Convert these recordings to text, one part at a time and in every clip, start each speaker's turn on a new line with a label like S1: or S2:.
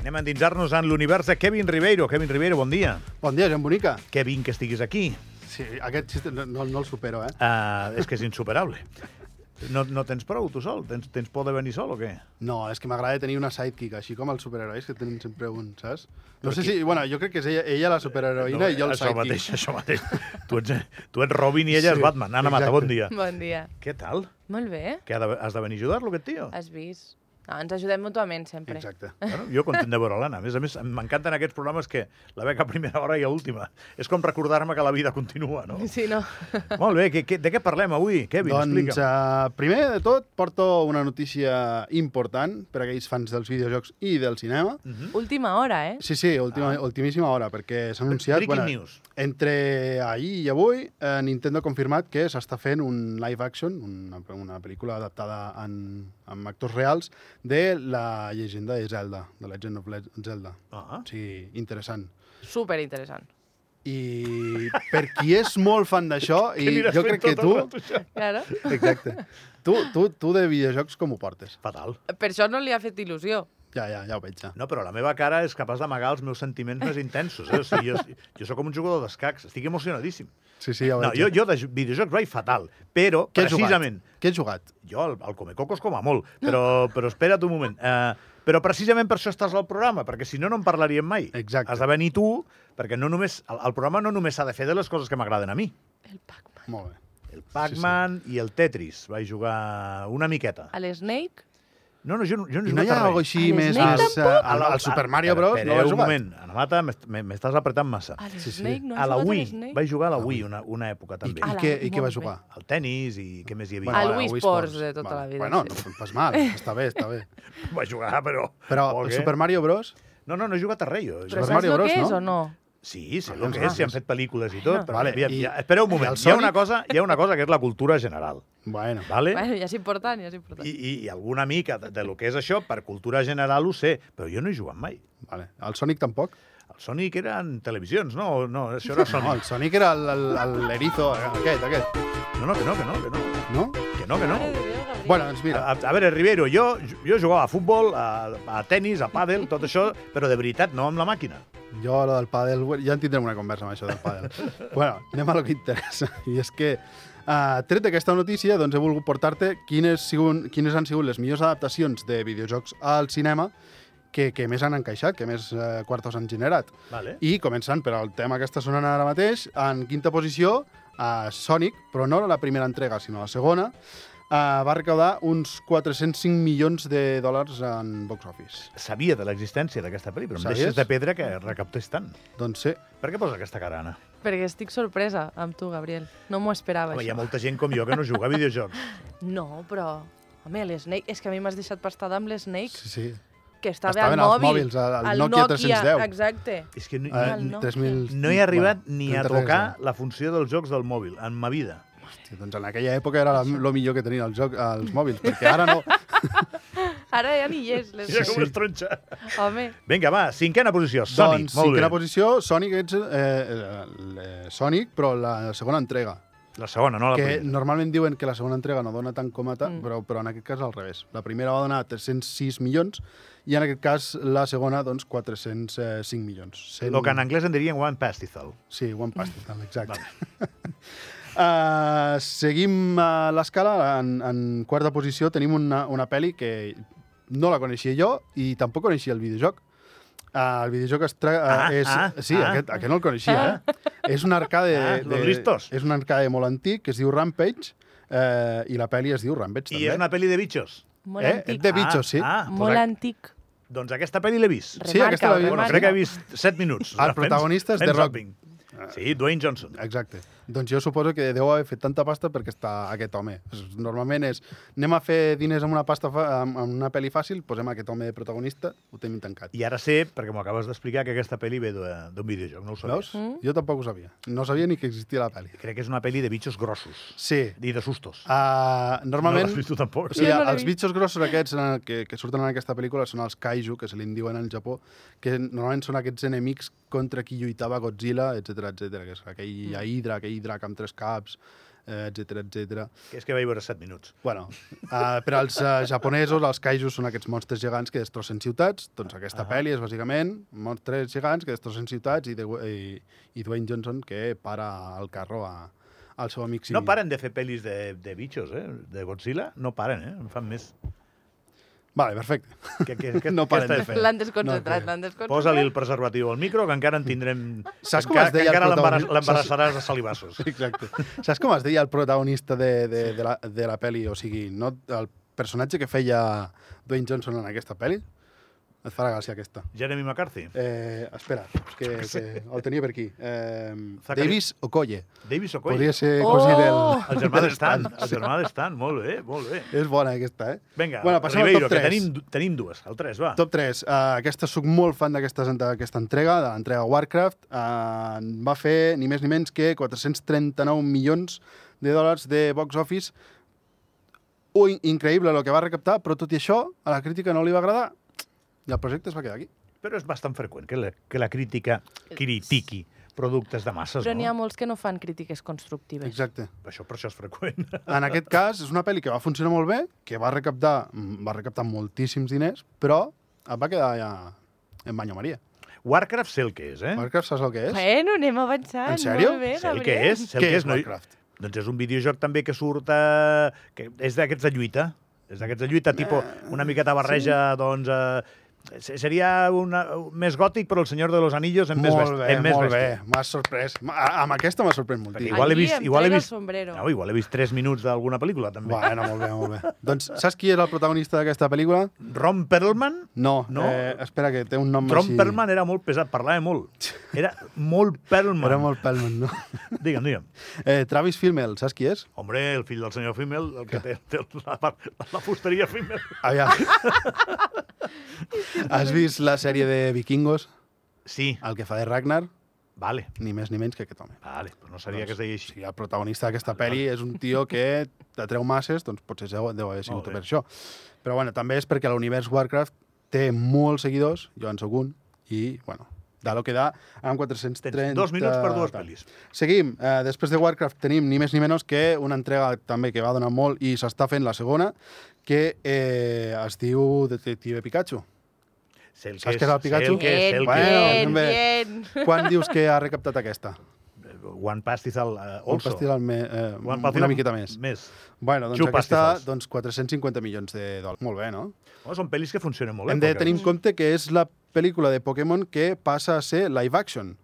S1: Anem a endinsar-nos en l'univers de Kevin Ribeiro. Kevin Ribeiro, bon dia.
S2: Bon dia, Joan Bonica.
S1: Kevin, que estiguis aquí.
S2: Sí, aquest xiste no, no, no el supero, eh?
S1: Uh, és que és insuperable. No, no tens prou, tu sol? Tens, tens por de venir sol o què?
S2: No, és que m'agrada tenir una sidekick, així com els superherois, que tenen sempre un, saps? No sé si... Bueno, jo crec que és ella, ella la superheroïna i jo el
S1: això
S2: sidekick.
S1: mateix, això mateix. Tu ets, tu ets Robin i ella sí,
S2: Sí,
S1: és Batman. Anna Mata,
S2: exacte.
S1: bon dia.
S3: Bon dia.
S1: Què tal?
S3: Molt bé,
S1: Que ha de, has de venir a ajudar-lo, aquest tio?
S3: has vist? No, ens ajudem mútuament sempre.
S2: Exacte.
S1: Bueno, jo content de veure l'Anna. A més a més, m'encanten aquests programes que la veig a primera hora i a última. És com recordar-me que la vida continua, no?
S3: Sí, no?
S2: Mm-hmm.
S1: Molt bé, que, que, de què parlem avui, Kevin?
S2: doncs,
S1: Explica'm.
S2: uh, primer de tot, porto una notícia important per a aquells fans dels videojocs i del cinema.
S1: Mhm.
S3: Última hora, eh?
S2: Sí, sí, última, ah. ultimíssima hora, perquè s'ha anunciat...
S1: Breaking news.
S2: Entre ahir i avui, eh, Nintendo ha confirmat que s'està fent un live action, una, una pel·lícula adaptada en, amb actors reals, de la llegenda de Zelda, de Legend of Le Zelda.
S1: Ah.
S2: O sigui, interessant.
S3: Super interessant.
S2: I per qui és molt fan d'això, i jo crec que tu...
S3: Claro.
S2: Exacte. Tu, tu, tu de videojocs com ho portes?
S1: Fatal.
S3: Per això no li ha fet il·lusió.
S2: Ja, ja, ja ho veig, ja.
S1: No, però la meva cara és capaç d'amagar els meus sentiments més intensos. Eh? O sigui, jo, jo sóc com un jugador d'escacs, estic emocionadíssim.
S2: Sí, sí, ja ho
S1: No,
S2: veig.
S1: jo,
S2: ja.
S1: jo de ju- videojocs vaig fatal, però
S2: Què has
S1: precisament...
S2: Jugat? Què has jugat?
S1: Jo el, el Comecocos com a molt, però, però espera't un moment. Uh, però precisament per això estàs al programa, perquè si no, no en parlaríem mai.
S2: Exacte.
S1: Has de venir tu, perquè no només, el, el programa no només s'ha de fer de les coses que m'agraden a mi.
S3: El Pac-Man.
S2: Molt bé.
S1: El Pac-Man sí, sí. i el Tetris. Vaig jugar una miqueta.
S3: El Snake?
S1: No, no, jo, no- jo no he
S2: I no hi
S1: jugat
S2: ha
S1: a res.
S2: alguna així
S3: A
S2: més...
S3: l'Snake
S2: més eh,
S3: tampoc?
S2: al, al Super Mario
S1: Espera,
S2: Bros.
S1: Espera,
S2: no ho has
S1: un
S2: jugat?
S1: moment, Ana Mata, m'est- m'e- m'estàs apretant massa.
S3: El
S2: Sí, sí.
S3: Snake? Ah, No
S1: a la
S3: has jugat
S1: Wii,
S3: al Snake?
S1: vaig jugar a la Wii una, una època també.
S2: I, i,
S3: Ala,
S2: què, I què
S3: molt
S2: vas
S3: bé.
S2: jugar?
S1: El tennis i què més hi havia?
S3: Al
S2: ara,
S3: Wii
S2: Wii
S3: Sports de tota
S2: Vale.
S3: la vida,
S2: Bueno,
S3: sí.
S2: no fas pas mal, està bé, està bé.
S1: Va jugar, però...
S2: Però
S1: poc,
S2: el
S1: eh?
S2: Super Mario Bros...
S1: No, no, no he jugat a res, jo.
S3: Però
S2: Super
S3: saps
S2: Mario
S3: Mario
S2: Bros,
S3: que
S2: no?
S3: és o no?
S1: Sí, sé
S2: Ah,
S1: el
S2: no,
S1: que és,
S2: ah,
S1: s'hi han
S2: sí.
S1: fet pel·lícules i
S3: Ah.
S1: tot, però
S2: Vale,
S1: vale, aviam,
S2: i-
S1: ja, espera un
S2: i
S1: moment,
S2: el
S1: hi ha, una
S2: Sonic?
S1: cosa, hi ha una cosa que és la cultura general,
S2: Bueno,
S1: vale?
S3: Bueno, ja és important, ja és important.
S1: I, i, i alguna mica de, de lo que és això, per cultura general ho sé, però jo no he jugat mai.
S2: vale. El Sonic tampoc?
S1: El Sonic eren televisions, no? O No, això era
S2: No, el
S1: Sonic.
S2: Sonic era el- el- el- l'erizo, aquest, aquest,
S1: No, no, que no, que no, que no,
S2: no?
S1: que no, que no.
S3: Mare de Déu, Gabriel.
S2: Bueno, doncs mira,
S1: A, a veure, Rivero, jo, jo jugava a futbol, a, a tennis, a pàdel, tot això, però de veritat, no amb la màquina.
S2: jo lo del pàdel, bueno, ja en tindrem una conversa amb això del pàdel. bueno, anem a lo que interessa, i és que Uh, tret d'aquesta notícia, doncs he volgut portar-te quines, sigun, quines han sigut les millors adaptacions de videojocs al cinema que, que més han encaixat, que més eh, quartos han generat.
S1: Vale.
S2: I començant per al tema que està sonant ara mateix, en quinta posició, a Sonic, però no la primera entrega, sinó la segona, eh, va recaudar uns 405 milions de dòlars en box office.
S1: Sabia de l'existència d'aquesta pel·li, però em
S2: Sabies?
S1: deixes de pedra que recaptés tant.
S2: Doncs sí,
S1: Per què posa aquesta cara, Anna?
S3: Perquè estic sorpresa amb tu, Gabriel. No m'ho esperava,
S1: Home, hi ha
S3: això.
S1: molta gent com jo que no juga a videojocs.
S3: No, però... Home, l'Snake... És que a mi m'has deixat pastada amb l'Snake,
S2: sí, sí.
S3: que estava
S2: Estaven
S3: al
S2: als
S3: mòbil.
S2: mòbils, al- al Nokia 310.
S3: Exacte.
S1: És que no,
S2: Eh,
S3: el Nokia.
S2: 3.000...
S1: no he arribat
S2: bueno,
S1: ni a
S2: 33,
S1: tocar la funció dels jocs del mòbil en ma vida.
S2: eh? Doncs en aquella època era el millor que tenien els, joc, els mòbils, perquè ara no. Doncs
S3: Ara ja ni hi és,
S1: Mira
S3: l'Snake.
S1: com es tronxa.
S3: Home,
S1: Vinga, va, cinquena posició. Sonic,
S2: doncs,
S1: molt bé.
S2: cinquena posició, Sonic, ets, eh, eh, Sonic, però la segona entrega.
S1: La segona, no la
S2: que
S1: primera.
S2: normalment diuen que la segona entrega no dona tant com a tal,
S3: Mm.
S2: mm. però, però en aquest cas al revés. La primera va donar 306 milions i en aquest cas la segona, doncs, 405 milions. Cent-
S1: Lo que en anglès en dirien one pastizal.
S2: Sí, one
S1: Mm.
S2: pastel, exacte. uh, seguim a l'escala. En, en quarta posició tenim una, una pel·li que no la coneixia jo i tampoc coneixia el videojoc. Uh, el videojoc es tra... eh,
S1: Ah,
S2: és...
S1: ah,
S2: sí,
S1: ah.
S2: aquest, aquest no el coneixia, eh? És un arcade...
S1: Ah, los listos.
S2: És un arcade molt antic que es diu Rampage eh, i la pel·li es diu Rampage,
S1: I
S2: també.
S1: és una pel·li de bitxos.
S3: molt
S2: Eh?
S3: antic.
S2: De bitxos, sí.
S1: Ah, ah,
S3: Molt
S1: doncs,
S3: antic.
S1: doncs aquesta pel·li l'he vist.
S2: Sí, aquesta
S3: Remarca-ho,
S2: la vi-
S1: Bueno,
S2: Mario.
S1: crec que he vist 7 minuts.
S2: El protagonista és
S1: Fent
S2: The Rock.
S1: zapping. Sí, Dwayne Johnson.
S2: Exacte. Doncs jo suposo que deu haver fet tanta pasta perquè està aquest home. És- Normalment és, anem a fer diners amb una, pasta fa, amb amb una pel·li fàcil, posem aquest home de protagonista, ho tenim tancat.
S1: I ara sé, perquè m'ho acabes d'explicar, que aquesta pel·li ve de- d'un videojoc, no ho sabia.
S2: Veus? Mm? Jo tampoc ho sabia. No sabia ni que existia la pel·li.
S1: Crec que és una pel·li de bitxos grossos
S2: Sí.
S1: i de sustos.
S2: Uh,
S1: No
S2: normalment...
S1: l'has vist tu tampoc.
S2: O sigui,
S3: Jo no l'he
S2: els
S3: vist.
S2: bitxos grossos aquests eh, que, que surten en aquesta pel·lícula són els kaiju, que se li en diuen al Japó, que normalment són aquests enemics contra qui lluitava Godzilla, etc etc que és aquell mm. hidra, aquell drac amb tres caps, etc etc.
S1: Que és que vaig veure 7 minuts.
S2: Bueno, uh, per als uh, japonesos, els kaijus són aquests monstres gegants que destrossen ciutats. Doncs aquesta
S1: Ahà.
S2: pel·li és, bàsicament, monstres gegants que destrossen ciutats i, de, i, i Dwayne Johnson que para el carro a, al seu amic
S1: Sí.
S2: Simi.
S1: No paren de fer pel·lis de, de bitxos, eh? De Godzilla, no paren, eh? En fan més.
S2: Vale, perfecte.
S1: Que, que, que,
S2: No paren
S1: Què
S2: de
S1: estàs fent?
S3: L'han desconcentrat,
S2: No,
S3: l'han desconcentrat.
S1: Posa-li el preservatiu al micro, que encara en tindrem...
S2: Saps com
S1: encara,
S2: es deia
S1: que
S2: el
S1: encara l'embaràs-
S2: protagonista?
S1: l'embarassaràs a salivassos.
S2: Exacte. Saps com es deia el protagonista de, de, de, la, de la pel·li? O sigui, no, el personatge que feia Dwayne Johnson en aquesta pel·li? Et farà gràcia aquesta.
S1: Jeremy McCarthy.
S2: Eh, espera, que, que el tenia per aquí. Eh,
S1: Zachary-
S2: Davis Okoye.
S1: Davis Okoye.
S2: Podria ser
S3: Oh!
S2: cosí del...
S1: El germà
S2: del
S1: d'Estan.
S2: Stan.
S1: El germà d'Estan. Molt bé, molt bé.
S2: És bona aquesta, eh?
S1: Vinga,
S2: Bueno, passem al
S1: Ribeiro,
S2: top
S1: que
S2: tres.
S1: tenim, tenim dues. El 3, va.
S2: Top 3. Uh, aquesta, soc molt fan d'aquesta d'aquesta entrega, de l'entrega Warcraft. Uh, va fer ni més ni menys que 439 milions de dòlars de box office. Ui, increïble el que va recaptar, però tot i això, a la crítica no li va agradar i el projecte es va quedar aquí.
S1: Però és bastant freqüent que la, que la crítica critiqui productes de masses,
S3: Però n'hi ha
S1: no?
S3: molts que no fan crítiques constructives.
S2: Exacte.
S1: Això, per això és freqüent.
S2: En aquest cas, és una pel·li que va funcionar molt bé, que va recaptar, mm, va recaptar moltíssims diners, però et va quedar ja en banyo Maria.
S1: Warcraft sé el que és, eh?
S2: Warcraft, saps el que és?
S3: Bueno, anem avançant.
S2: En sèrio?
S3: Molt bé,
S1: Sé el que
S3: Gabriel.
S1: és, sé el que és, no, hi-
S2: Warcraft?
S1: Doncs és un videojoc també que surt a... que és d'aquests de lluita. És d'aquests de
S2: Eh,
S1: lluita, tipus una miqueta barreja, doncs... Eh, se- seria una, més gòtic, però el Senyor de los Anillos en més
S2: molt
S1: bèstia.
S2: bé,
S1: en més
S2: molt bé.
S1: bèstia.
S2: M'ha sorprès. M- a- Amb aquesta m'ha sorprès
S1: Perquè
S2: moltíssim.
S3: igual-
S1: igual he
S3: Aquí
S1: vist,
S3: em
S1: igual he
S3: trec el
S1: vist,
S3: sombrero.
S1: no, igual he vist 3 minuts d'alguna pel·lícula, també. Va.
S2: Bueno, molt bé, molt bé. doncs saps qui era el protagonista d'aquesta pel·lícula?
S1: Ron Perlman?
S2: No,
S1: No?
S2: Eh, espera que té un nom
S1: Ron
S2: així.
S1: Perlman era molt pesat, parlava molt. Era molt Perlman.
S2: Era molt Perlman, no?
S1: Digue'm, digue'm.
S2: Eh, Travis Fimmel, saps qui és?
S1: Hombre, el fill del senyor Fimmel, el que té, té la, la fusteria Fimmel.
S2: Aviam. Has vist la sèrie de Vikingos?
S1: Sí,
S2: El que fa de Ragnar?
S1: vale,
S2: Ni més ni menys que aquest home.
S1: vale, però no sabia
S2: Doncs,
S1: que es deia
S2: O
S1: així.
S2: sigui, el protagonista d'aquesta pel·li és un tio que t'atreu masses, doncs potser deu, deu haver sigut
S1: Molt bé.
S2: per això. Però bueno, també és perquè l'univers Warcraft té molts seguidors, jo en soc un, i bueno, de lo que da amb 430...
S1: Tens dos minuts per dues
S2: tal.
S1: pel·lis.
S2: Seguim. Eh, després de Warcraft tenim ni més ni menys que una entrega també que va donar molt i s'està fent la segona, que eh, es diu Detective Pikachu.
S1: Sé el
S2: Saps què és el Pikachu?
S1: Sé el que és, sé el
S2: Bueno,
S1: que
S3: bien,
S2: també.
S3: bien.
S2: Quan dius que ha recaptat aquesta?
S1: és. One pastizal uh,
S2: Un
S1: also.
S2: pastil al me, eh,
S1: One pastizal
S2: una miqueta més.
S1: Més.
S2: Bueno, doncs
S1: Xupa
S2: aquesta,
S1: pastissos.
S2: doncs 450 milions de dòlars. Molt bé, no?
S1: Oh, són pel·lis que funcionen molt bé.
S2: Hem de
S1: perquè-
S2: tenir en compte que és la pel·lícula de Pokémon que passa a ser live action.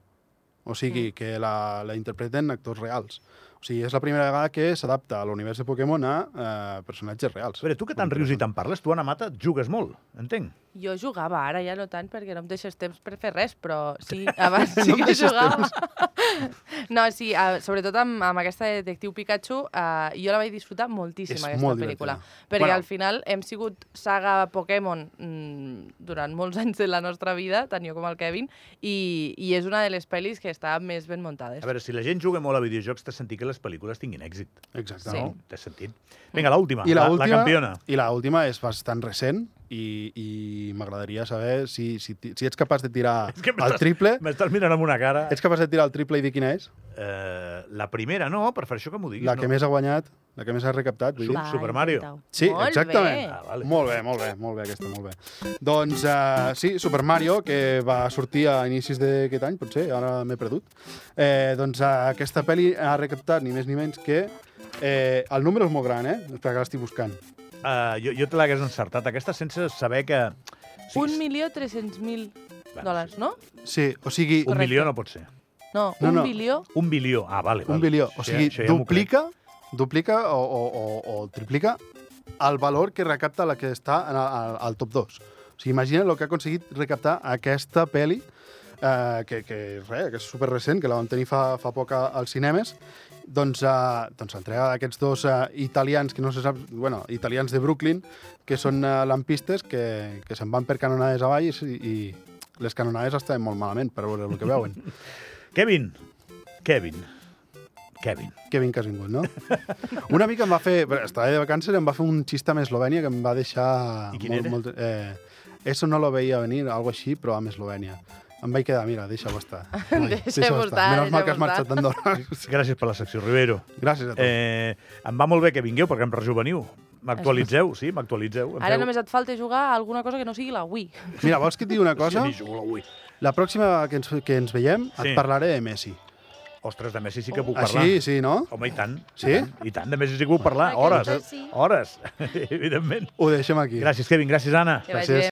S2: O sigui, que la, la interpreten actors reals. O sigui, és la primera vegada que s'adapta a l'univers de Pokémon a eh, personatges reals.
S1: A veure, tu que tant rius i tant parles, tu, Ana Mata, jugues molt, entenc.
S3: Jo jugava, ara ja no tant, perquè no em deixes temps per fer res, però sí, abans sí
S2: No em
S3: que
S2: deixes
S3: jugava. No, sí, uh, sobretot amb, amb aquesta de Detectiu Pikachu, uh, jo la vaig disfrutar moltíssim,
S2: És
S3: aquesta
S2: molt
S3: pel·lícula.
S2: divertida.
S3: Perquè
S2: Bueno.
S3: al final hem sigut saga Pokémon mm, durant molts anys de la nostra vida, tant jo com el Kevin, i, i és una de les pel·lis que està més ben muntades.
S1: A veure, si la gent juga molt a videojocs, té sentit que les pel·lícules tinguin èxit.
S2: Exacte,
S3: Sí. Mm.
S2: no?
S1: Té sentit. Vinga, l'última,
S2: I Eh?
S1: la,
S2: la,
S1: la,
S2: última,
S1: campiona.
S2: I la última és bastant recent i, i m'agradaria saber si, si, ti- si ets capaç de tirar
S1: És que
S2: el triple.
S1: M'estàs mirant amb una cara.
S2: Ets capaç de tirar el triple i dir quina és?
S1: Eh, la primera no, per fer això que m'ho diguis.
S2: La que
S1: no.
S2: més ha guanyat, la que més ha recaptat. Vull dir.
S1: Super- Super Mario.
S3: intenta-ho.
S2: Sí,
S3: Molt
S2: exactament.
S3: Bé.
S1: Ah, vale.
S2: Molt bé, molt bé, molt bé aquesta, molt bé. Doncs uh, sí, Super Mario, que va sortir a inicis d'aquest any, potser, ara m'he perdut. Eh, doncs uh, aquesta pel·li ha recaptat ni més ni menys que... Eh, el número és molt gran, eh? Espera, que l'estic buscant.
S1: Eh, jo, jo te l'hagués encertat, aquesta, sense saber que... Sí,
S3: Un milió tres cents mil
S1: Bueno,
S3: dòlars, no?
S2: Sí, o sigui,
S1: un
S3: Correcte.
S1: milió no pot ser.
S3: No,
S2: No,
S3: un
S2: no.
S3: bilió.
S1: Un bilió. Ah, vale.
S2: un
S1: vale.
S2: bilió. O
S1: Això
S2: sigui,
S1: això m'ho crec.
S2: duplica, duplica o, o, o, o triplica el valor que recapta la que està en el, al, al top 2. O sigui, imagina el que ha aconseguit recaptar aquesta pel·li, eh, que, que, res, que és super recent, que la vam tenir fa, fa poc a- als cinemes, doncs, eh, doncs l'entrega d'aquests dos eh, italians que no se sap, bueno, italians de Brooklyn, que són eh, lampistes, que, que se'n van per canonades avall i, i les canonades estaven molt malament per veure el que veuen.
S1: Kevin. Kevin. Kevin.
S2: Que vinc que has vingut, no? Una mica em va fer... però Estava de vacances, em va fer un xista amb Eslovènia que em va deixar...
S1: I quin era?
S2: molt, molt, eh, eso no lo veia venir, algo així, però amb Eslovènia. Em Em vaig quedar, mira, deixa-ho estar. Ai,
S3: Deixa-ho
S2: deixa-ho
S3: estar,
S2: Menys mal que has
S3: deixa-ho
S2: marxat
S3: estar.
S2: d'Andorra.
S1: Gràcies per la secció, Rivero.
S2: Gràcies a tu.
S1: Eh, em va molt bé que vingueu perquè em rejuveniu. M'actualitzeu, sí, m'actualitzeu. em
S3: Ara
S1: feu-
S3: només et falta jugar a alguna cosa que no sigui la Wii.
S2: Mira, vols que et digui una
S1: Sí,
S2: cosa?
S1: ni jugo avui.
S2: La pròxima que ens, que ens veiem
S1: Sí.
S2: et parlaré de Messi.
S1: Ostres, de Messi sí que puc
S2: Ah,
S1: parlar.
S2: sí, sí, no?
S1: Home, i tant.
S2: Sí?
S1: I tant, I tant, de Messi sí que puc parlar.
S3: Aquesta
S1: Hores,
S3: sí.
S1: hores, evidentment.
S2: Ho deixem aquí.
S1: Gràcies, Kevin, gràcies, Anna.
S3: Que vagi
S2: Gràcies.
S3: bé.